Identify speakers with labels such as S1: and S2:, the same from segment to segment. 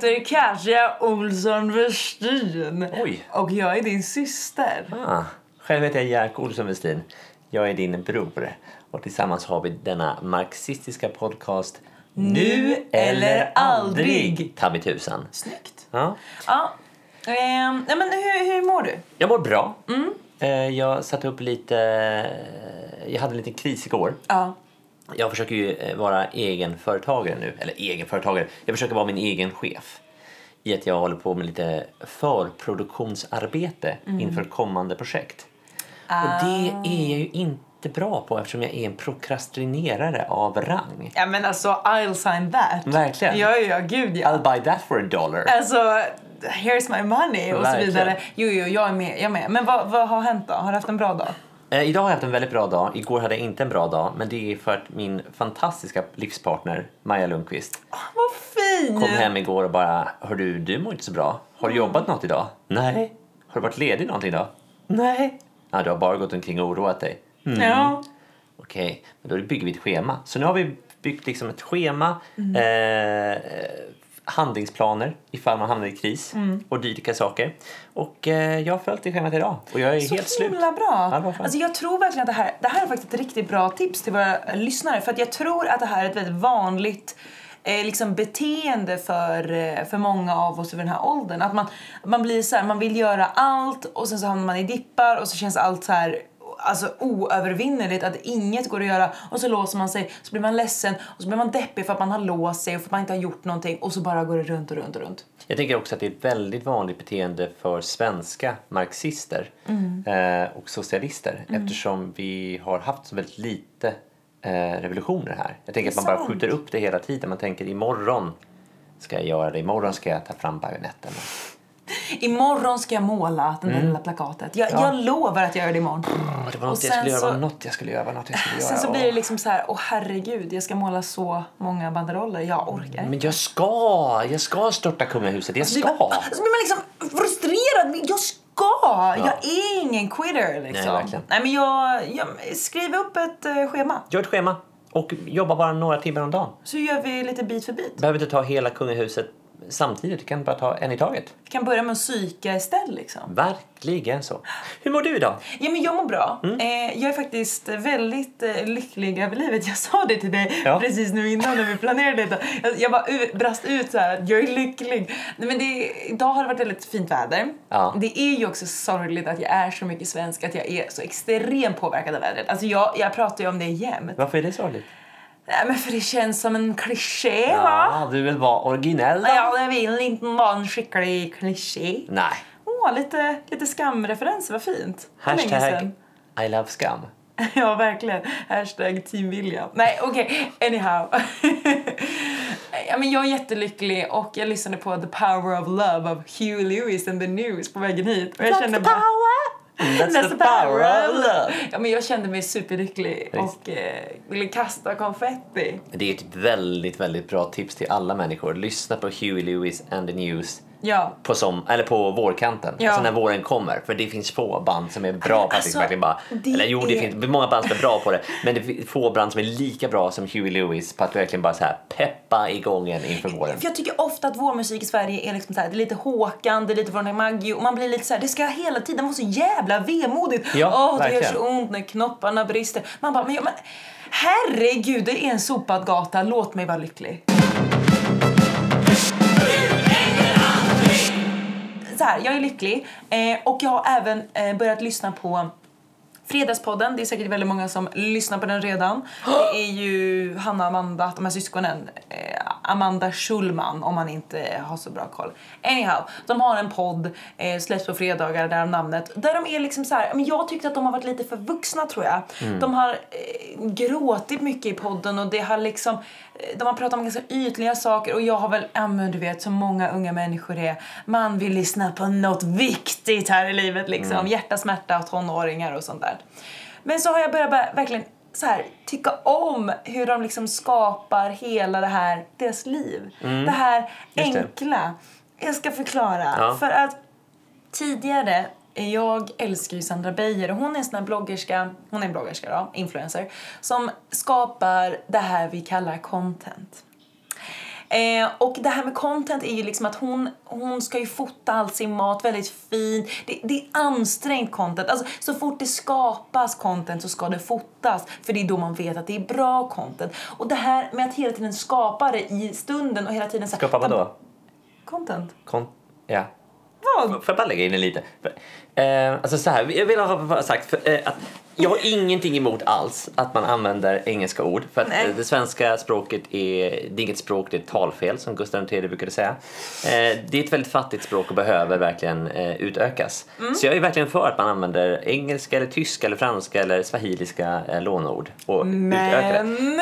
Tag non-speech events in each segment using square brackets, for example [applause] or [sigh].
S1: Katja Olsson Westin.
S2: Oj.
S1: Och jag är din syster.
S2: Ah, själv heter jag Jerker Olsson Westin. Jag är din bror. Och tillsammans har vi denna marxistiska podcast
S1: Nu eller aldrig.
S2: Ta mig tusan.
S1: Snyggt.
S2: Ja.
S1: Ja. Ehm, nej men hur, hur mår du?
S2: Jag mår bra. Eh, Jag satte upp lite... eh, Jag hade en liten kris igår.
S1: Ja.
S2: Jag försöker ju eh, vara egenföretagare nu. Eller egenföretagare. Jag försöker vara min egen chef. I att jag håller på med lite förproduktionsarbete inför kommande projekt. Och det är jag ju inte bra på eftersom jag är en prokrastinerare av rang.
S1: Ja men alltså I'll sign that.
S2: Verkligen.
S1: Ja ja, gud ja.
S2: I'll buy that for a dollar.
S1: Alltså here's my money och så
S2: Verkligen.
S1: vidare. Jo jo, jag är med. Jag är med. Men vad, vad har hänt då? Har du haft en bra dag?
S2: Eh, Idag har jag haft en väldigt bra dag. Igår hade jag inte en bra dag. Men det är för att min fantastiska livspartner Maja Lundqvist
S1: Vad fin!
S2: kom hem igår och bara Hör du, du mår inte så bra. Har
S1: Mm.
S2: du jobbat något idag? Nej. Har du varit ledig någonting idag? Nej. Ja, du har bara gått omkring och oroat dig.
S1: Ja.
S2: Okej, men då bygger vi ett schema. Så nu har vi byggt liksom ett schema,
S1: Mm.
S2: eh, handlingsplaner ifall man hamnar i kris
S1: Mm.
S2: och dylika saker. Och eh, jag har följt det schemat idag och jag är
S1: Så
S2: helt slut.
S1: himla
S2: Ja,
S1: bra.
S2: vad fan.
S1: Alltså jag tror verkligen att det här, det här är faktiskt ett riktigt bra tips till våra lyssnare för att jag tror att det här är ett väldigt vanligt eh, liksom beteende för, eh, för många av oss i den här åldern. Att man, man blir så här, man vill göra allt och sen så hamnar man i dippar och så känns allt så här alltså oövervinneligt att inget går att göra och så låser man sig så blir man ledsen och så blir man deppig för att man har låst sig och för att man inte har gjort någonting och så bara går det runt och runt och runt.
S2: Jag tänker också att det är ett väldigt vanligt beteende för svenska marxister
S1: Mm.
S2: eh, och socialister eftersom vi har haft så väldigt lite eh, revolutioner här. Jag tänker
S1: Det är
S2: att man bara
S1: sant.
S2: skjuter upp det hela tiden. Man tänker imorgon ska jag göra det, imorgon ska jag ta fram bajonetten.
S1: Mm. Imorgon ska jag måla den där
S2: Mm.
S1: lilla plakatet. Jag, jag lovar att jag gör det imorgon.
S2: Åh, det var något
S1: Och
S2: jag skulle
S1: sen
S2: göra,
S1: så-
S2: var något jag skulle göra, var något jag
S1: [laughs]
S2: skulle
S1: Sen
S2: göra.
S1: så
S2: Åh.
S1: blir det liksom så här, åh herregud, jag ska måla så många banderoller, jag orkar inte.
S2: Men jag ska! Jag ska störta kungahuset, jag
S1: Så blir
S2: ska!
S1: man, så blir man liksom frustrerad, men jag ska! Jag är ingen quitter
S2: Nej,
S1: liksom.
S2: verkligen.
S1: men jag, jag skriver upp ett eh, schema
S2: Gör ett schema och jobba bara några timmar om dagen.
S1: så gör vi lite bit för bit.
S2: Behöver inte ta hela kungahuset samtidigt, du kan bara ta en i taget.
S1: Vi kan börja med att psyka istället liksom.
S2: Verkligen så. Hur mår du idag?
S1: Ja, men jag mår bra.
S2: Mm.
S1: Eh, jag är faktiskt väldigt eh, lycklig över livet. Jag sa det till dig
S2: Ja.
S1: precis nu innan när vi planerade detta. Jag, jag bara u- brast ut så här att jag är lycklig. Nej, men det, idag har det varit väldigt fint väder.
S2: Ja.
S1: Det är ju också sorgligt att jag är så mycket svensk, att jag är så extremt påverkad av vädret. Alltså jag, jag pratar ju om det jämt.
S2: Varför är det sorgligt?
S1: Nej, men för det känns som en kliché va?
S2: Ja, du vill vara originell då?
S1: Ja, jag vill inte vara en skicklig kliché.
S2: Nej.
S1: Åh, lite, lite skamreferenser, vad fint. Det var länge
S2: Hashtag
S1: sedan.
S2: I love scum.
S1: [laughs] Ja, verkligen. Hashtag team William. Nej, okej. Anyhow. [laughs] ja, men jag är jättelycklig och jag lyssnade på The Power of Love av Hugh Lewis and the News på vägen hit. Och jag kände bara...
S2: That's, the power of love.
S1: Ja, men jag kände mig superlycklig
S2: Visst.
S1: och eh, ville kasta konfetti.
S2: Det är ett väldigt, väldigt bra tips till alla människor. Lyssna på Huey Lewis and the News
S1: Ja.
S2: på, som, eller på vårkanten,
S1: Ja.
S2: alltså när våren kommer. För det finns få band som är bra på att
S1: Alltså,
S2: liksom verkligen bara...
S1: det
S2: eller jo, det
S1: är-
S2: finns många band som är bra på det, men det finns få band som är lika bra som Huey Lewis på att verkligen bara så här peppa igång en inför våren.
S1: För jag tycker ofta att vår musik i Sverige är liksom så här, det är lite Håkan, det är lite Veronica Maggio och man blir lite så här, det ska hela tiden vara så jävla vemodigt. Åh,
S2: Ja,
S1: det gör
S2: verkligen.
S1: så ont när knopparna brister. Man bara, men, jag- men herregud, det är en sopad gata, låt mig vara lycklig. Så här, jag är lycklig eh, och jag har även eh, börjat lyssna på Fredagspodden, det är säkert väldigt många som lyssnar på den redan. Det är ju Hanna och Amanda, de här syskonen, eh, Amanda Schulman om man inte har så bra koll. Anyhow, de har en podd, eh, släpps på fredagar, där namnet. Där de är liksom så här, men jag tyckte att de har varit lite för vuxna tror jag. De har eh, gråtit mycket i podden och det har liksom, eh, de har pratat om ganska ytliga saker och jag har väl, ja men du vet som många unga människor är, man vill lyssna på något viktigt här i livet liksom.
S2: Mm.
S1: Hjärta, smärta, tonåringar och sånt där. Men så har jag börjat bara, verkligen så här, tycka om hur de liksom skapar hela det här, deras liv. Det här
S2: Mm. Just det.
S1: enkla. Jag ska förklara.
S2: Ja.
S1: För att tidigare, jag älskar ju Sandra Beijer och hon är en sån här bloggerska, hon är en bloggerska då, influencer, som skapar det här vi kallar content. Eh, Eh, och det här med content är ju liksom att hon, hon ska ju fota all sin mat väldigt fint. Det, det är ansträngt content. Alltså, så fort det skapas content så ska det fotas. För det är då man vet att det är bra content. Och det här med att hela tiden skapa det i stunden och hela tiden... så här-
S2: Skapa vadå?
S1: Content.
S2: Kon- ja.
S1: Vad?
S2: Får jag bara lägga in en lite? Eh, alltså så här, jag vill ha bara sagt för, eh, att jag har ingenting emot alls att man använder engelska ord. För att
S1: Nej.
S2: eh, det svenska språket är, det är inget språk, det är ett talfel som Gustav III brukade säga. Eh, det är ett väldigt fattigt språk och behöver verkligen eh, utökas.
S1: Mm.
S2: Så jag är verkligen för att man använder engelska, eller tyska, eller franska eller swahiliska eh, lånord och utökar det.
S1: Men...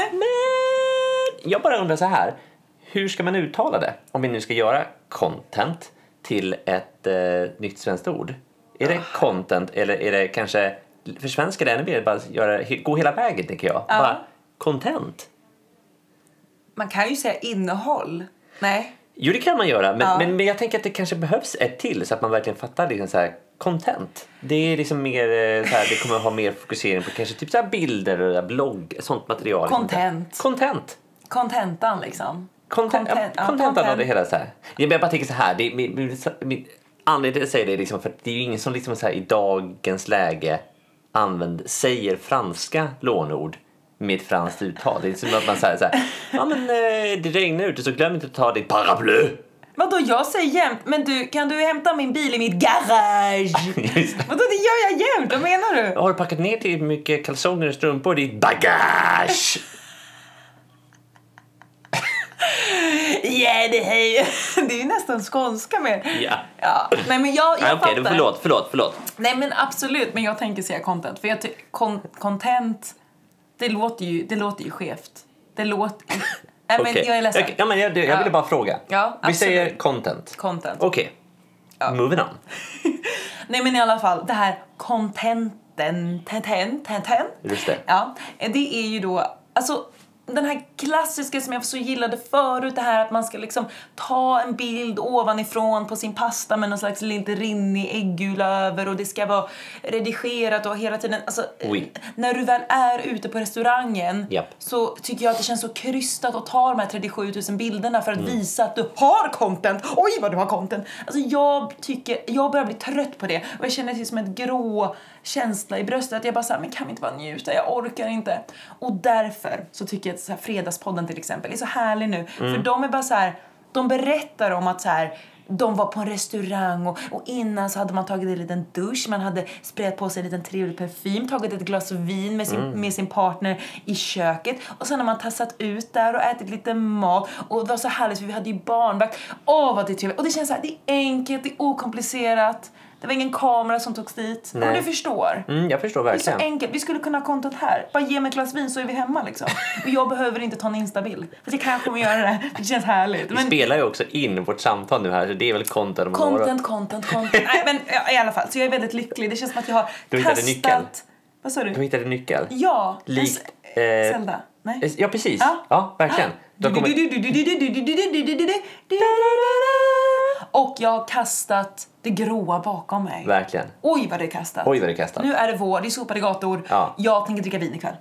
S2: Jag bara undrar så här. Hur ska man uttala det? Om vi nu ska göra content till ett eh, nytt svenskt ord. Är det
S1: Ah.
S2: content eller är det kanske försvenska det ännu mer? Bara göra, he- gå hela vägen tänker jag. Bara content.
S1: Man kan ju säga innehåll. Nej.
S2: Jo, det kan man göra, men,
S1: Ja.
S2: men, men jag tänker att det kanske behövs ett till så att man verkligen fattar liksom så här content. Det är liksom mer eh, så här, det kommer ha mer fokusering på kanske typ så här bilder och blogg, sånt material.
S1: Content.
S2: Content.
S1: Contentan liksom.
S2: Content,
S1: Content- ja,
S2: ja, contentan av
S1: content.
S2: det hela så här. Ja, men Jag bara tänker så här, det är, min, min, min, anledningen till att jag säger det är liksom för att det är ju ingen som liksom så här, i dagens läge använder, säger franska lånord med ett franskt uttal. Det är som att man säger så här, ja men eh, det regnar ute så glöm inte att ta ditt paraply.
S1: Vadå jag säger jämt, men du kan du hämta min bil i mitt garage?
S2: [laughs] Just det.
S1: Vadå det gör jag jämt, vad menar du?
S2: Har du packat ner till mycket kalsonger och strumpor i ditt bagage?
S1: Yeah, det, hej. [laughs] det är ju nästan skånska mer.
S2: Ja.
S1: Ja. Nej men jag, jag
S2: Nej, Okej, då
S1: fattar.
S2: förlåt, förlåt, förlåt.
S1: Nej men absolut, men jag tänker säga content. För jag ty- kon- content, det låter ju, det låter ju skevt. Det låter... [laughs] Nej men
S2: Okej.
S1: jag är ledsen.
S2: Okej, Ja, men jag, jag ville
S1: Ja.
S2: bara fråga.
S1: Ja,
S2: Vi
S1: absolut.
S2: säger content.
S1: Content.
S2: Okej, moving on.
S1: Nej men i alla fall, det här contenten, tenten, tenten.
S2: Just det.
S1: Ja, det är ju då, alltså den här klassiska som jag så gillade förut, det här att man ska liksom ta en bild ovanifrån på sin pasta med någon slags lite rinnig äggula över och det ska vara redigerat och hela tiden, alltså
S2: Oui.
S1: när du väl är ute på restaurangen
S2: Japp.
S1: så tycker jag att det känns så krystat att ta de här 37 000 bilderna för att visa att du har content. Oj vad du har content! Alltså jag tycker, jag börjar bli trött på det och jag känner det som en grå känsla i bröstet. Att jag bara såhär, men kan vi inte bara njuta? Jag orkar inte. Och därför så tycker jag att så här, Fredagspodden till exempel är så härlig nu. För de är bara så här, de berättar om att så här de var på en restaurang och, och innan så hade man tagit en liten dusch, man hade sprayat på sig en liten trevlig parfym, tagit ett glas vin med sin,
S2: Mm.
S1: med sin partner i köket och sen har man tassat ut där och ätit lite mat och det var så härligt för vi hade ju barnvakt. Åh vad det är trevligt! Och det känns så här, det är enkelt, det är okomplicerat, det var ingen kamera som togs dit. Ja, Men
S2: Nej.
S1: du förstår.
S2: Mm, jag förstår
S1: Det är så
S2: verkligen.
S1: enkelt, vi skulle kunna ha kontot här. Bara ge mig ett glas vin så är vi hemma liksom. Och jag behöver inte ta en instabild. Fast jag kanske kommer göra det, för det känns härligt.
S2: Vi
S1: Men-
S2: spelar ju också in vårt samtal nu här så det är väl content om några år.
S1: Content, content, content. [laughs] Nej, men ja, i alla fall. Så jag är väldigt lycklig. Det känns som att jag har
S2: Du hittade
S1: kastat...
S2: nyckeln.
S1: Vad sa
S2: Du
S1: du?
S2: hittade nyckel.
S1: Ja. en
S2: Likt...
S1: s-
S2: Eh,
S1: Zelda? Nej.
S2: ja, precis.
S1: Ja. Ah.
S2: Ja, verkligen. Du har kommit...
S1: Och jag har kastat det gråa bakom mig.
S2: Verkligen.
S1: Oj vad det är kastat.
S2: Oj, vad det är kastat.
S1: Nu är det vår, det är sopade gator.
S2: Ja.
S1: Jag tänker dricka vin ikväll.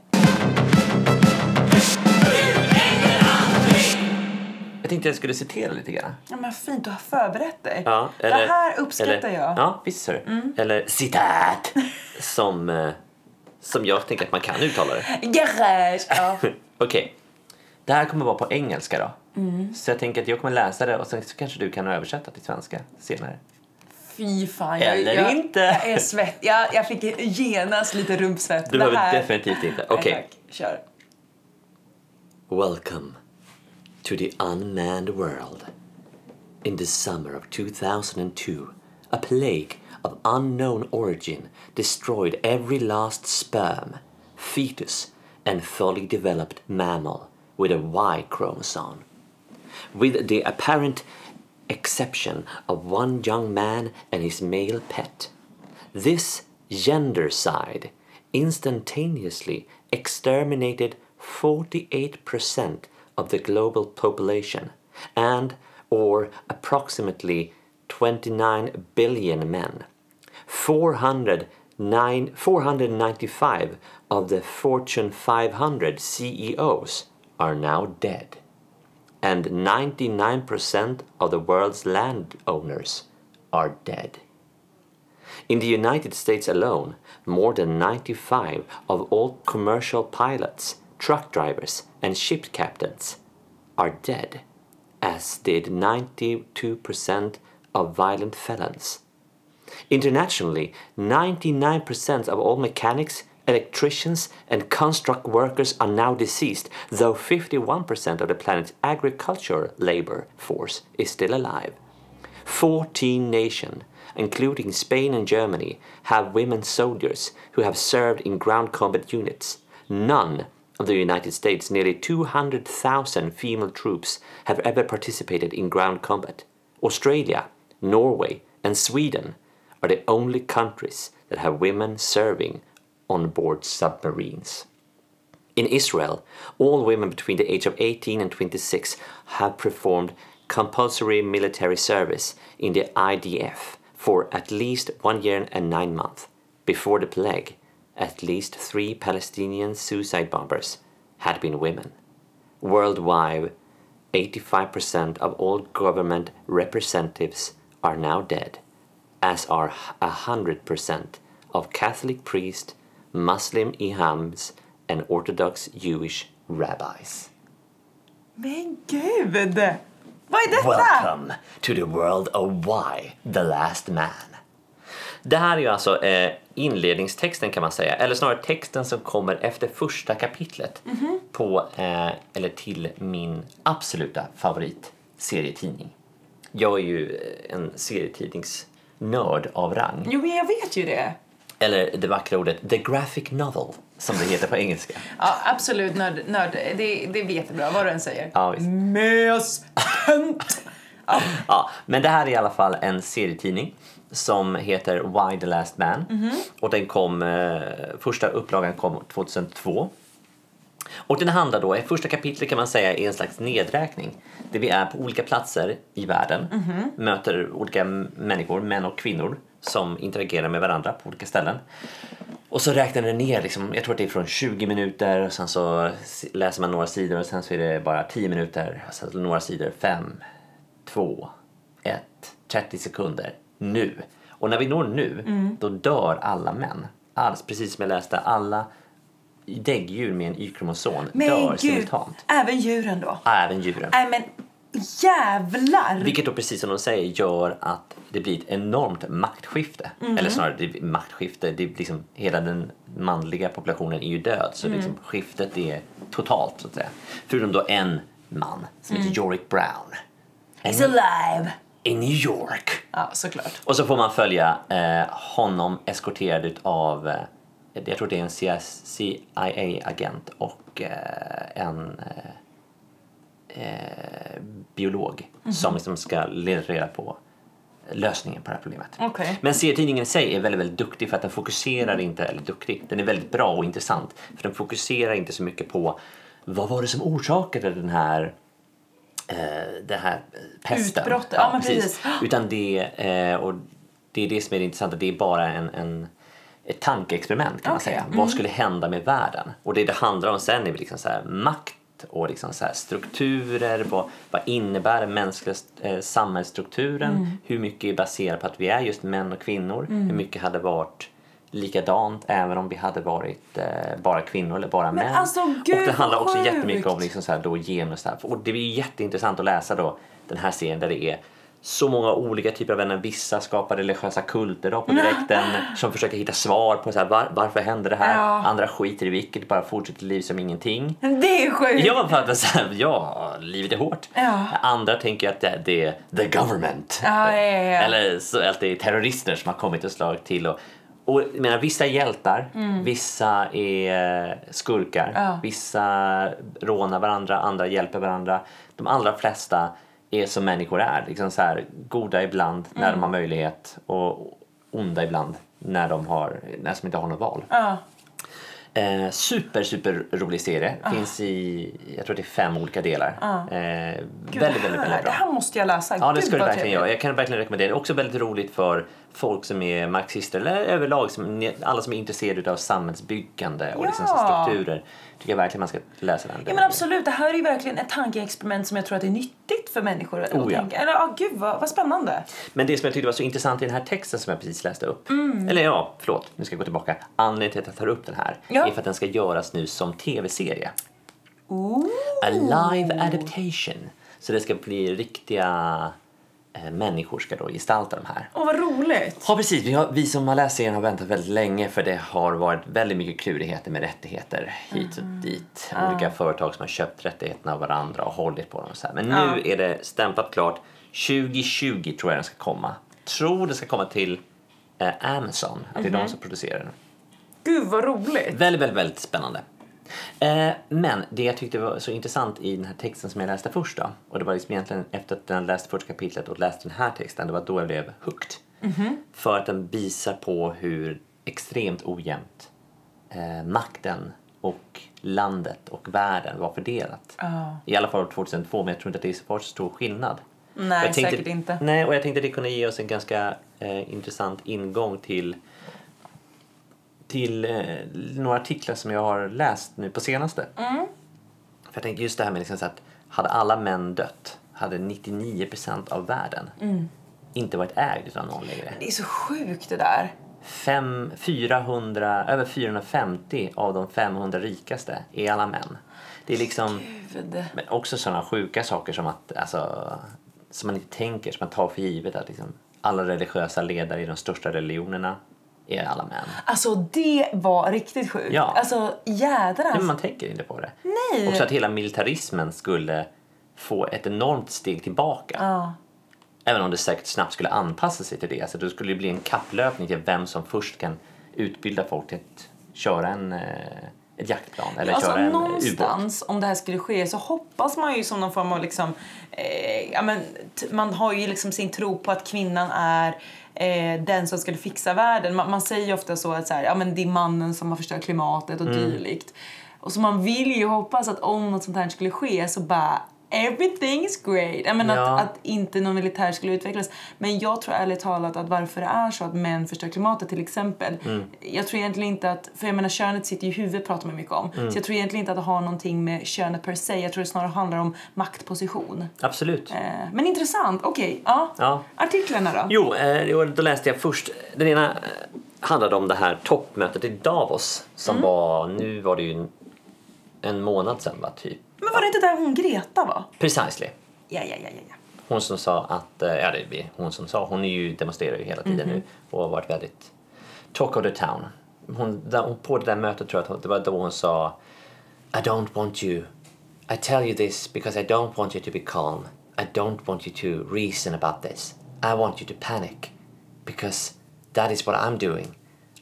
S2: Jag tänkte jag skulle citera lite grann.
S1: Ja, men fint, du har förberett dig.
S2: Ja,
S1: det här uppskattar
S2: eller,
S1: jag. Mm.
S2: Ja, visst ser du. Eller
S1: [laughs]
S2: citat! Som, eh, som jag tänker att man kan uttala det.
S1: Garage! Ja.
S2: [laughs] Okej. Det här kommer vara på engelska då.
S1: Mm.
S2: Så jag tänker att jag kommer läsa det och sen så kanske du kan översätta till svenska senare.
S1: Fy fan. Jag,
S2: Eller
S1: jag,
S2: inte.
S1: Jag är svett. Jag, jag fick genast lite rumpsvett.
S2: Du behöver definitivt inte.
S1: Nej,
S2: Okej.
S1: tack. Kör.
S2: Welcome to the unmanned world. In the summer of 2002, a plague of unknown origin destroyed every last sperm, fetus, and fully developed mammal with a Y chromosome. With the apparent exception of one young man and his male pet. This gendercide instantaneously exterminated 48% of the global population and or approximately 29 billion men. 409 495 E of the Fortune 500 CEOs are now dead. and 99% of the world's landowners are dead. In the United States alone, more than 95 of all commercial pilots, truck drivers, and ship captains are dead, as did 92% of violent felons. Internationally, 99% of all mechanics, electricians, and construct workers are now deceased, though 51% of the planet's agricultural labor force is still alive. 14 nations, including Spain and Germany, have women soldiers who have served in ground combat units. None of the United States' nearly 200,000 female troops have ever participated in ground combat. Australia, Norway, and Sweden are the only countries that have women serving on board submarines. In Israel, all women between the age of 18 and 26 have performed compulsory military service in the IDF for at least one year and nine months. Before the plague, at least three Palestinian suicide bombers had been women. Worldwide, 85% of all government representatives are now dead, as are 100% of Catholic priests, Muslim imams, and Orthodox Jewish rabbis.
S1: Men gud! Vad är detta?
S2: Welcome to the world of why, the last man. Det här är ju alltså eh, inledningstexten kan man säga, eller snarare texten som kommer efter första kapitlet på, eh, eller till min absoluta favorit serietidning. Jag är ju eh, en serietidningsnörd av rang.
S1: Jo, men jag vet ju det.
S2: Eller det vackra ordet the graphic novel, som det heter på engelska.
S1: Ja, absolut nörd. nörd. Det, det blir jättebra, vad du än säger.
S2: Ja, visst.
S1: Mös!
S2: [laughs]
S1: Tönt! Ja.
S2: Ja, men det här är i alla fall en serietidning som heter Why the Last Man. Och den kom, eh, första upplagan kom 2002. Och den handlar då, i första kapitlet kan man säga är en slags nedräkning. Där vi är på olika platser i världen, möter olika m- människor, män och kvinnor som interagerar med varandra på olika ställen. Och så räknar den ner, liksom, jag tror att det är från 20 minuter och sen så s- läser man några sidor och sen så är det bara 10 minuter, och sen några sidor, 5, 2, 1, 30 sekunder, nu. Och när vi når nu,
S1: Mm.
S2: då dör alla män. Alls, precis som jag läste, alla däggdjur med en Y-kromosom dör
S1: Men gud,
S2: simultant.
S1: även djuren då.
S2: Även djuren.
S1: Nej men jävlar!
S2: Vilket då precis som de säger gör att det blir ett enormt maktskifte. Eller snarare det, maktskifte, det är liksom, hela den manliga populationen är ju död så liksom, skiftet är totalt så att säga. Förutom då en man som heter Yorick Brown.
S1: He's alive!
S2: I New York.
S1: Ja, såklart.
S2: Och så får man följa eh, honom eskorterad utav, eh, jag tror det är en CS CIA-agent och eh, en eh, eh, biolog
S1: Mhm.
S2: som liksom ska leda reda på lösningen på det här problemet.
S1: Okej.
S2: Men serietidningen i sig är väldigt, väldigt duktig för att den fokuserar inte, eller duktig, den är väldigt bra och intressant för den fokuserar inte så mycket på vad var det som orsakade den här eh, det här eh, pesten.
S1: Utbrottet, ja, men precis.
S2: [gasps] Utan det, eh, och det är det som är det intressanta, det är bara en, en, ett tankeexperiment kan man
S1: Okej, Mm.
S2: säga. Vad skulle hända med världen? Och det det handlar om sen är väl liksom så här makt och liksom så här strukturer, vad, vad innebär den mänskliga eh, samhällsstrukturen?
S1: Mm.
S2: Hur mycket är baserat på att vi är just män och kvinnor? Hur mycket hade varit likadant även om vi hade varit eh, bara kvinnor eller bara män?
S1: alltså,
S2: och
S1: gud,
S2: det handlar
S1: vad
S2: också jättemycket om
S1: sjukt.
S2: liksom så här då genus. Där. Och det blir ju jätteintressant att läsa då den här serien där det är så många olika typer av vänner. Vissa skapar religiösa kulter då på direkten som försöker hitta svar på så här, var, varför händer det här?
S1: Ja.
S2: Andra skiter i vilket, bara fortsätter liv som ingenting.
S1: Det är sjukt!
S2: Ja, för att så här, ja, livet är hårt.
S1: Ja.
S2: Andra tänker att det, det är the government.
S1: Ja, ja, ja, ja.
S2: Eller så att det är terrorister som har kommit och slagit till. Och, och jag menar, vissa är hjältar, vissa är eh, skurkar,
S1: Mm. Ja.
S2: vissa rånar varandra, andra hjälper varandra. De allra flesta är som människor är, liksom så här, goda ibland när
S1: Mm.
S2: de har möjlighet och onda ibland när de har, när som inte har något val.
S1: Ja.
S2: Eh, super, super rolig serie. Finns i, jag tror det är fem olika delar. Eh,
S1: Gud,
S2: väldigt,
S1: det,
S2: väldigt,
S1: här,
S2: väldigt
S1: det
S2: bra.
S1: här måste jag läsa.
S2: Ja, det
S1: Gud,
S2: ska du
S1: vad
S2: verkligen göra.
S1: trevligt.
S2: Jag kan verkligen rekommendera det. Också väldigt roligt för folk som är marxister eller överlag som, alla som är intresserade av samhällsbyggande och liksom så
S1: Ja.
S2: strukturer. Tycker jag verkligen man ska läsa den.
S1: Ja, men absolut, det här är ju verkligen ett tankeexperiment som jag tror att är nyttigt för människor. att
S2: Oh, ja.
S1: tänka. Eller, ah, gud vad, vad spännande.
S2: Men det som jag tyckte var så intressant i den här texten som jag precis läste upp.
S1: Mm.
S2: Eller ja, förlåt, nu ska jag gå tillbaka. Anledningen till att jag tar upp den här
S1: Ja.
S2: är för att den ska göras nu som tv-serie.
S1: Ooh.
S2: A live adaptation. Så det ska bli riktiga eh, människor ska då gestalta de här.
S1: Åh, vad roligt.
S2: Ja precis, vi, har, vi som har läst serien har väntat väldigt länge för det har varit väldigt mycket klurigheter med rättigheter hit och dit. Olika företag som har köpt rättigheterna av varandra och hållit på dem och så här. Men nu är det stämplat klart. 2020 tror jag den ska komma. Tror det ska komma till eh, Amazon, att det är de som producerar den.
S1: Gud vad roligt.
S2: Väldigt, väldigt, väldigt spännande. Eh, men det jag tyckte var så intressant i den här texten som jag läste först då, och det var liksom egentligen efter att jag läste första kapitlet och läste den här texten, det var då jag blev hooked. För att den visar på hur extremt ojämnt eh, makten och landet och världen var fördelat.
S1: Ja.
S2: I alla fall 2002, men jag tror inte att det är så var så stor skillnad.
S1: Nej,
S2: Jag tänkte,
S1: säkert inte.
S2: Nej, och jag tänkte att det kunde ge oss en ganska eh, intressant ingång till till eh, några artiklar som jag har läst nu på senaste.
S1: Mm.
S2: För jag tänker just det här med liksom så att hade alla män dött hade 99% av världen
S1: Mm.
S2: inte varit ägd utav någon längre.
S1: Det är så sjukt det där.
S2: Fem, 400, över 450 av de 500 rikaste är alla män. Det är liksom...
S1: Gud.
S2: Men också sådana sjuka saker som att, alltså, som man inte tänker, som man tar för givet att liksom, alla religiösa ledare i de största religionerna är alla män.
S1: Alltså det var riktigt sjukt.
S2: Ja.
S1: Alltså jädrans.
S2: Men man tänker inte på det.
S1: Nej.
S2: Också att hela militarismen skulle få ett enormt steg tillbaka.
S1: Ja.
S2: Även om det säkert snabbt skulle anpassa sig till det. Alltså, då skulle det bli en kapplöpning till vem som först kan utbilda folk till att köra en, eh, ett jaktplan eller
S1: Alltså
S2: köra en eh, ubåt.
S1: någonstans om det här skulle ske så hoppas man ju som någon form av liksom, eh, ja men t- man har ju liksom sin tro på att kvinnan är eh, den som skulle fixa världen. Man, man säger ju ofta så att så här, ja men det är mannen som har förstört klimatet och
S2: Mm.
S1: dylikt. Och så man vill ju hoppas att om något sånt här skulle ske så bara Everything's great! Jag menar
S2: Ja.
S1: att, att inte någon militär skulle utvecklas. Men jag tror ärligt talat att varför det är så att män förstör klimatet till exempel. Jag tror egentligen inte att, för jag menar könet sitter ju i huvudet pratar man mycket om. Så jag tror egentligen inte att det har någonting med könet per se. Jag tror det snarare handlar om maktposition.
S2: Absolut.
S1: Eh, Men intressant, okej. Ja.
S2: Ja.
S1: Artiklarna då?
S2: Jo, eh, jo, då läste jag först. Den ena eh, handlade om det här toppmötet i Davos som var, nu var det ju en, en månad sedan va, typ.
S1: Men var det inte där hon Greta var?
S2: Precisely.
S1: Ja, ja, ja, ja. ja.
S2: Hon som sa att, eh, ja det är hon som sa, hon är ju, demonstrerar ju hela tiden nu och har varit väldigt talk of the town. Hon, där, hon, på det där mötet tror jag att hon, det var då hon sa I don't want you, I tell you this because I don't want you to be calm. I don't want you to reason about this. I want you to panic because that is what I'm doing.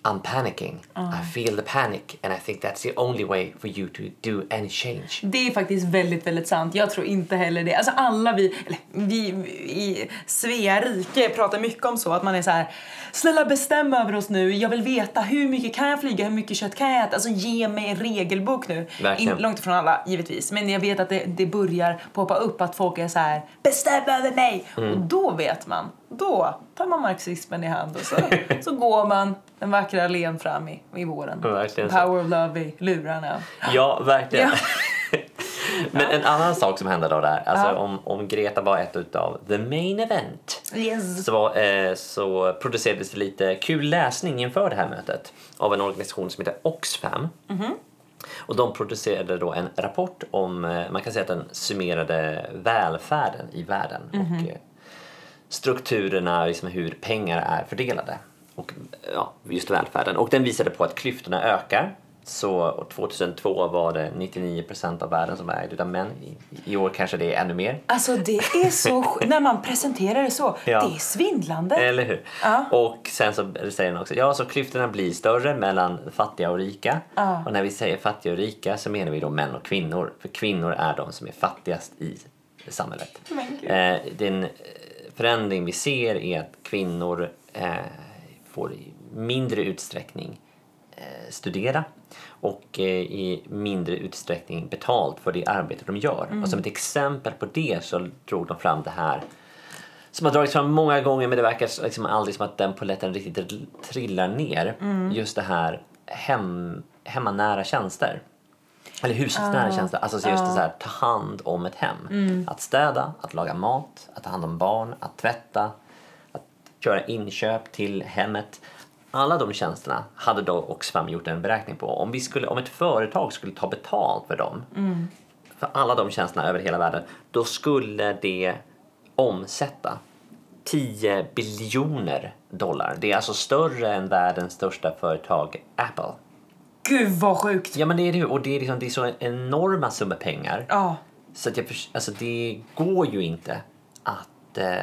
S2: I'm panicking. I feel the panic and I think that's the only way for you to do any change.
S1: Det är faktiskt väldigt, väldigt sant. Jag tror inte heller det. Alltså alla vi, eller vi vi i Svea rike pratar mycket om så att man är så här snälla bestäm över oss nu. Jag vill veta hur mycket kan jag flyga, hur mycket kött kan jag äta? Alltså ge mig en regelbok nu.
S2: Verkligen.
S1: långt ifrån alla givetvis, men jag vet att det, det börjar poppa upp att folk är så här bestäm över mig.
S2: Mm.
S1: Och då vet man. Då tar man marxismen i hand
S2: [laughs]
S1: och så, så går man den vackra allén fram i, i våren.
S2: Verkligen så.
S1: Power of love i lurarna.
S2: Ja, verkligen.
S1: Ja.
S2: [laughs] Men en annan sak som hände då där, alltså
S1: Ja.
S2: om, om Greta var ett utav the main event
S1: Yes.
S2: så, var, eh, så producerades det lite kul läsning inför det här mötet av en organisation som heter Oxfam. Och de producerade då en rapport om, eh, man kan säga att den summerade välfärden i världen och eh, strukturerna, liksom hur pengar är fördelade. Och eh, ja, just välfärden. Och den visade på att klyftorna ökar. Så 2002 var det 99% av världen som var ägd utav män. I- I år kanske det är ännu mer.
S1: Alltså det är så
S2: [laughs]
S1: sj- när man presenterar det så,
S2: Ja. Eh.
S1: det är svindlande.
S2: Eller hur?
S1: Ja.
S2: Och sen så säger han också, ja så klyftorna blir större mellan fattiga och rika.
S1: Ja.
S2: Och när vi säger fattiga och rika så menar vi då män och kvinnor. För kvinnor är de som är fattigast i samhället.
S1: Men gud.
S2: Eh, den eh, förändring vi ser är att kvinnor eh, får i mindre utsträckning eh, eh, studera och eh, i mindre utsträckning betalt för det arbete de gör.
S1: Mm.
S2: Och som ett exempel på det så drog de fram det här som har dragits fram många gånger men det verkar liksom aldrig som att den polletten riktigt trillar ner.
S1: Mm.
S2: Just det här hem, hemmanära tjänster. Eller hushållsnära tjänster. Alltså så just det så här, ta hand om ett hem. Att städa, att laga mat, att ta hand om barn, att tvätta, att göra inköp till hemmet. Alla de tjänsterna hade då Oxfam gjort en beräkning på. Om, vi skulle, om ett företag skulle ta betalt för dem, för alla de tjänsterna över hela världen, då skulle det omsätta 10 biljoner dollar. Det är alltså större än världens största företag Apple.
S1: Gud vad sjukt!
S2: Ja men det är det ju och det är, liksom, det är så enorma summor pengar
S1: Ja.
S2: så att jag, förs- alltså det går ju inte att eh,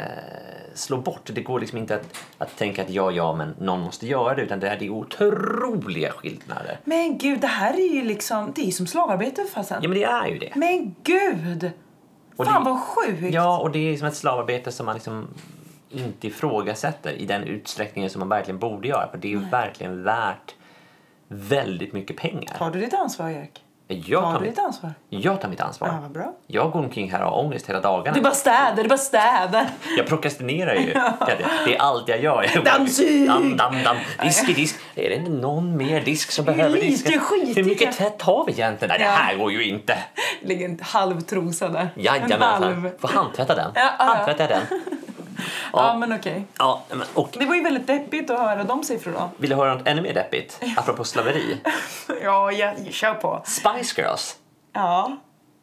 S2: slå bort. Det går liksom inte att, att tänka att ja, ja, men någon måste göra det utan det här det är otroliga skillnader.
S1: Men gud, det här är ju liksom, det är ju som slavarbete för fasen.
S2: Ja men det är ju det.
S1: Men gud!
S2: Och
S1: Fan
S2: det-
S1: vad sjukt!
S2: Ja, och det är liksom ett slavarbete som man liksom inte ifrågasätter i den utsträckningen som man verkligen borde göra. För det är ju verkligen värt väldigt mycket pengar.
S1: Tar du ditt ansvar Erik?
S2: Jag
S1: Tar
S2: tar,
S1: du
S2: mitt,
S1: ditt ansvar?
S2: jag tar mitt
S1: Ja,
S2: ansvar.
S1: vad bra.
S2: Jag går omkring här och har ångest hela dagarna.
S1: Du bara städar, du bara städar. [laughs]
S2: Jag prokrastinerar ju. Det det är allt jag gör. Jag
S1: Dammsug!
S2: Damm, damm, damm. Disk i disk. Är det inte någon mer disk som behöver
S1: lite
S2: diskas?
S1: skitigt,
S2: Hur
S1: ja.
S2: mycket tvätt har vi egentligen? Nej,
S1: Ja.
S2: det här går ju inte.
S1: Lägg en halv trosa där. en halv.
S2: Jajamensan. Får handtvätta den.
S1: Ja, ja, ja.
S2: Handtvätta den.
S1: Ja,
S2: Ja.
S1: men okej.
S2: Ja, men- och
S1: Det var ju väldigt deppigt att höra de
S2: [laughs]
S1: siffrorna.
S2: vill du höra något ännu mer deppigt? Apropå slaveri.
S1: Ja, jag kör på.
S2: Spice Girls
S1: Ja,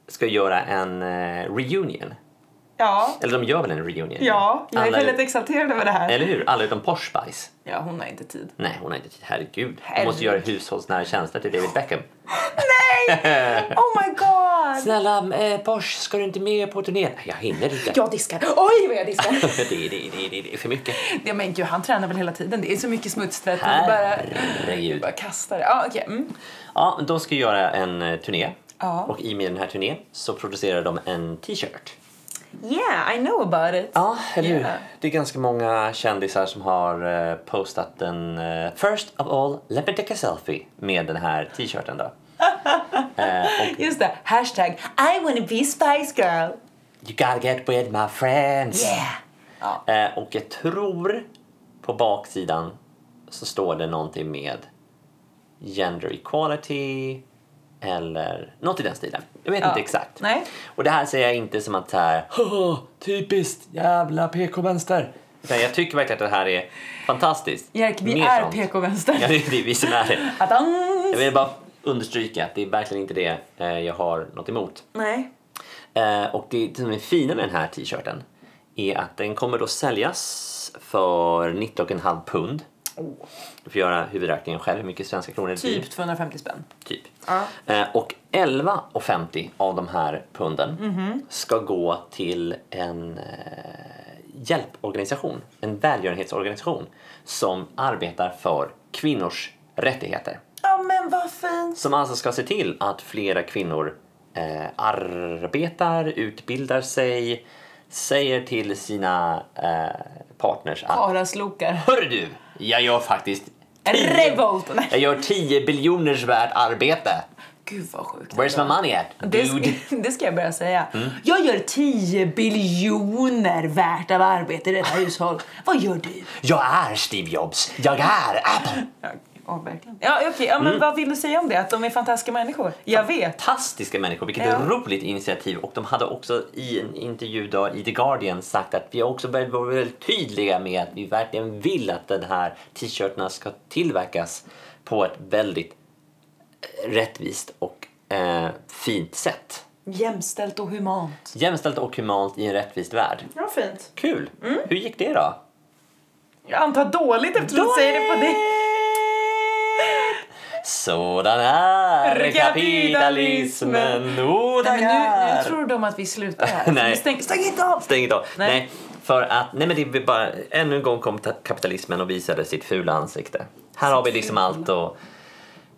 S2: ska göra en eh, reunion.
S1: ja,
S2: Eller de gör väl en reunion?
S1: ja. Jag är
S2: Alla- Eh.
S1: väldigt exalterad över det här.
S2: Eller hur? Alla utom Posh Spice.
S1: Ja, hon har inte tid.
S2: Nej, hon har inte tid. Herregud. Hon
S1: Herregud.
S2: måste göra hushållsnära tjänster till David Beckham.
S1: [laughs] Oh my god!
S2: Snälla eh, Posh, ska du inte med på turnén? Nej, Jag hinner inte.
S1: Jag diskar. Oj, vad jag diskar!
S2: [laughs] det, det, det, det, det är för mycket.
S1: [laughs] Ja, men gud, han tränar väl hela tiden. Det är så mycket smutstvätt. och Det bara,
S2: Herregud.
S1: bara kastar det. Ja, okej. Mm.
S2: Ja, de ska göra en eh, turné.
S1: Ja.
S2: Och i och med den här turnén så producerar de en t-shirt.
S1: Yeah, I know about it.
S2: Ja, eller hur?
S1: Yeah.
S2: Det är ganska många kändisar som har eh, postat en eh, First of all, Lebedeca selfie med den här t-shirten då.
S1: Just det. Hashtag I wanna be Spice Girl.
S2: You gotta get with my friends.
S1: Yeah. Ja.
S2: Eh, och jag tror på baksidan så står det någonting med gender equality eller något i den stilen. Jag vet inte exakt.
S1: Nej.
S2: Och det här säger jag inte som att så här, "Haha, typiskt jävla PK-vänster. Utan jag tycker verkligen att det här är fantastiskt.
S1: Erik, vi
S2: Mer
S1: är
S2: sånt.
S1: PK-vänster.
S2: [laughs] Ja, det är det är vi som är det.
S1: Attans!
S2: Jag vill bara understryka att det är verkligen inte det eh, jag har något emot.
S1: Nej.
S2: Eh, Och det som är fina med den här t-shirten är att den kommer då säljas för 19,5 pund. Du får göra huvudräkningen själv hur mycket svenska kronor det blir.
S1: Oh. Typ 250 spänn.
S2: typ.
S1: Ja.
S2: Eh, Och 11,50 av de här punden
S1: Mhm.
S2: ska gå till en eh, hjälporganisation, en välgörenhetsorganisation som arbetar för kvinnors rättigheter
S1: Ja, men vad fint.
S2: som alltså ska se till att flera kvinnor eh, arbetar, utbildar sig, säger till sina eh, partners att
S1: Paraslokar.
S2: Hörru du, jag gör faktiskt
S1: Revolt! Nej.
S2: jag gör 10 biljoners värt arbete.
S1: Gud vad sjukt.
S2: Where's my money at?
S1: det,
S2: Dude. Mm.
S1: ska, [laughs] det ska jag börja säga. Jag gör 10 biljoner värt av arbete i detta hushåll. Vad gör du?
S2: Jag är Steve Jobs. Jag är Apple.
S1: Ja, verkligen. Ja, okej. Ja,
S2: Mm.
S1: men vad vill du säga om det? Att de är fantastiska människor? Jag vet.
S2: Fantastiska människor, vilket
S1: Ja.
S2: roligt initiativ. Och de hade också i en intervju då, i The Guardian sagt att vi har också börjat vara väldigt tydliga med att vi verkligen vill att den här t-shirtarna ska tillverkas på ett väldigt eh, rättvist och eh, fint sätt.
S1: Jämställt och humant.
S2: Jämställt och humant i en rättvis värld.
S1: Ja, fint.
S2: Kul!
S1: Mm.
S2: Hur gick det då?
S1: Jag antar dåligt eftersom du säger det på det.
S2: Sådan är
S1: Kapitalismen. Nej,
S2: kapitalismen! Oh,
S1: men nu, nu
S2: tackar.
S1: tror de att vi slutar
S2: [laughs]
S1: här.
S2: Nej.
S1: Vi stäng, stäng inte av!
S2: Stäng inte av.
S1: Nej.
S2: Nej. För att, nej men det är bara, ännu en gång kom ta- kapitalismen och visade sitt fula ansikte. Här har vi liksom allt och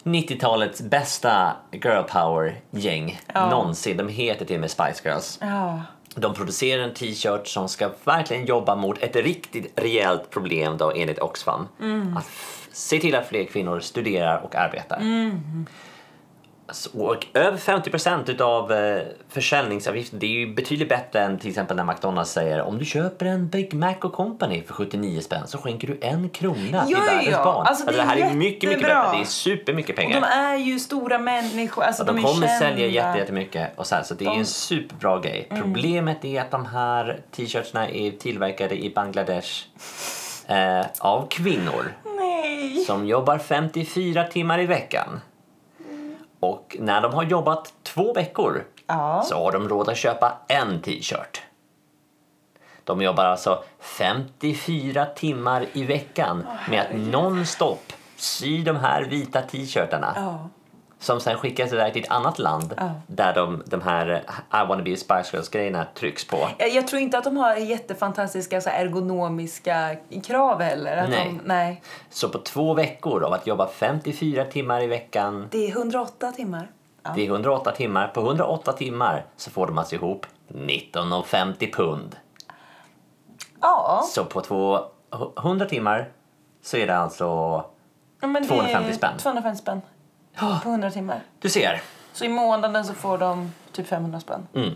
S2: 90-talets bästa girl power-gäng någonsin. De heter till och med Spice Girls.
S1: Ja.
S2: De producerar en t-shirt som ska verkligen jobba mot ett riktigt rejält problem då enligt Oxfam.
S1: Mm.
S2: Att f- se till att fler kvinnor studerar och arbetar.
S1: Mm.
S2: Så- Och över 50 utav eh, försäljningsavgiften, det är ju betydligt bättre än till exempel när McDonalds säger om du köper en Big Mac och Company för 79 spänn så skänker du en krona till
S1: Ja, ja,
S2: världens
S1: ja.
S2: barn.
S1: Alltså, det är
S2: här är mycket, mycket
S1: jättebra.
S2: bättre. Det är supermycket
S1: Och
S2: pengar.
S1: de är ju stora människor. Alltså,
S2: De,
S1: de, är
S2: kommer
S1: kända.
S2: sälja jätte, jättemycket och så här, så det är
S1: De- Mm.
S2: en superbra grej. Problemet är att de här t-shirtsna är tillverkade i Bangladesh eh, av kvinnor
S1: Nej!
S2: som jobbar 54 timmar i veckan. Och när de har jobbat två veckor
S1: Ja.
S2: så har de råd att köpa en t-shirt. De jobbar alltså 54 timmar i veckan med att nonstop sy de här vita t-shirtarna
S1: Ja.
S2: som sen skickas iväg till ett annat land
S1: Ja.
S2: där de, de här eh, I wanna be a Spice Girls-grejerna trycks på.
S1: Jag, Eh, jag tror inte att de har jättefantastiska så här, ergonomiska krav heller. Att
S2: Nej.
S1: De, nej.
S2: Så på två veckor av att jobba 54 timmar i veckan,
S1: Det är 108 timmar. Ja.
S2: det är 108 timmar, på 108 timmar så får de alltså ihop 19,50 pund.
S1: ja.
S2: Så på två, 100 timmar så är det alltså,
S1: Ja, men det är
S2: 250 spänn.
S1: 250 spänn. På 100 timmar.
S2: du ser,
S1: Så i månaden så får de typ 500 spänn.
S2: Mm.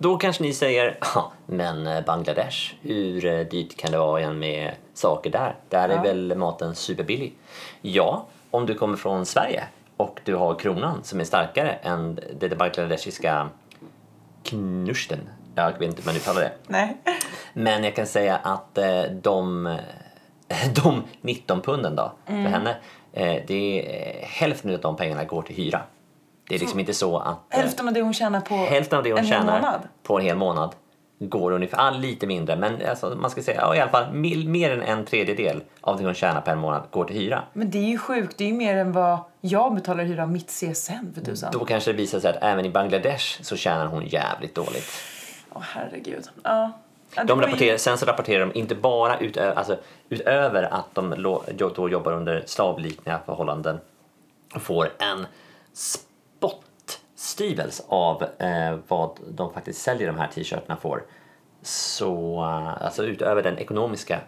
S2: Då kanske ni säger, "Ja, men eh, Bangladesh, hur eh, dyrt kan det vara igen med saker där? Där är väl maten superbillig? Ja, om du kommer från Sverige och du har kronan som är starkare än det bangladeshiska knusten. Jag vet inte hur man uttalar det.
S1: Nej.
S2: Men jag kan säga att eh, de, [laughs] de 19 punden då, för henne, eh, det är hälften av de pengarna går till hyra. Det är liksom inte så att... eh,
S1: Hälften av det hon tjänar på
S2: Hälften av det hon
S1: en hel
S2: tjänar
S1: månad.
S2: på en hel månad går ungefär, ah, lite mindre, men alltså, man ska säga ja, i alla fall mil, mer än en tredjedel av det hon tjänar per månad går till hyra.
S1: Men det är ju sjukt. Det är ju mer än vad jag betalar i hyra av mitt CSN för tusan.
S2: Då kanske det visar sig att även i Bangladesh så tjänar hon jävligt dåligt.
S1: Åh herregud. Ja. Ja, det
S2: De
S1: var ju-
S2: rapporterar, sen så rapporterar de inte bara utöver, alltså, utöver att de lo, jo- då jobbar under slavliknande förhållanden och får en spottstyvels av eh, vad de faktiskt säljer de här t-shirtarna får. Så eh, alltså utöver den ekonomiska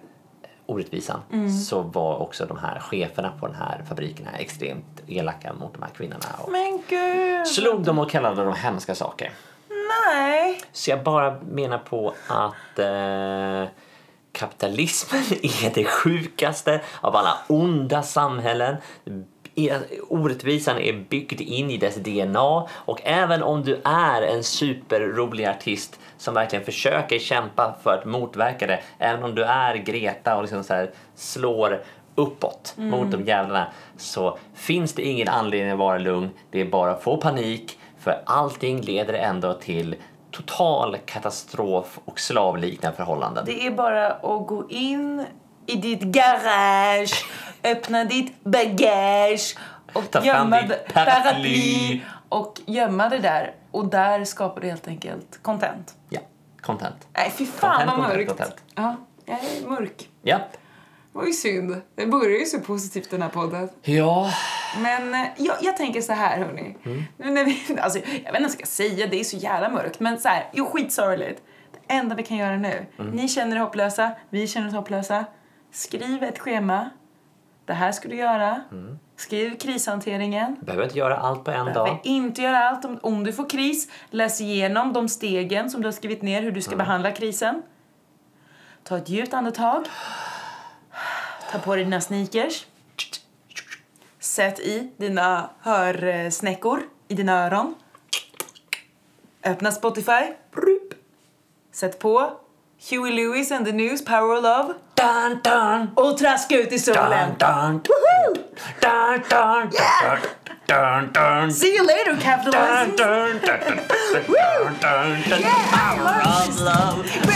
S2: orättvisan så var också de här cheferna på den här fabrikerna extremt elaka mot de här kvinnorna och
S1: Men gud.
S2: slog dem och kallade dem hemska saker.
S1: Nej.
S2: Så jag bara menar på att eh, kapitalismen [laughs] är det sjukaste av alla onda samhällen. E- Orättvisan är byggd in i dess DNA och även om du är en superrolig artist som verkligen försöker kämpa för att motverka det, även om du är Greta och liksom så här slår uppåt mot de jävlarna så finns det ingen anledning att vara lugn. Det är bara att få panik för allting leder ändå till total katastrof och slavliknande förhållanden.
S1: Det är bara att gå in i ditt garage, öppna ditt bagage och
S2: Ta fram
S1: gömma
S2: ditt
S1: det-
S2: paraply.
S1: och gömma det där. Och där skapar du helt enkelt content.
S2: Ja, content.
S1: Nej, fy fan
S2: Content,
S1: vad mörkt.
S2: content, content.
S1: Ja, jag är mörk.
S2: Japp.
S1: Det var ju synd. Den börjar ju så positivt den här podden.
S2: Ja.
S1: Men eh, jag, jag tänker så här hörni. Nu när vi, [laughs] alltså, jag vet inte vad jag ska säga, det är så jävla mörkt. Men så här, jo skitsorgligt. Det enda vi kan göra nu. Ni känner er hopplösa, vi känner oss hopplösa. Skriv ett schema. Det här ska du göra. Skriv krishanteringen.
S2: Behöver inte göra allt på en
S1: Men
S2: dag.
S1: inte göra allt. Om, om du får kris, läs igenom de stegen som du har skrivit ner hur du
S2: Mm.
S1: ska behandla krisen. Ta ett djupt andetag. Ta på dig dina sneakers. Sätt i dina hörsnäckor i dina öron. Öppna Spotify. Brup. Sätt på Huey Lewis and the News, Power of Love.
S2: Dun, dun,
S1: Och traska ut i solen.
S2: dun, dun.
S1: Woohoo!
S2: Dun, dun,
S1: Yeah!
S2: dun, dun, dun.
S1: See you later, capitalism!
S2: Dun, dun, dun, dun, dun, dun, dun.
S1: Yeah!
S2: Power of love.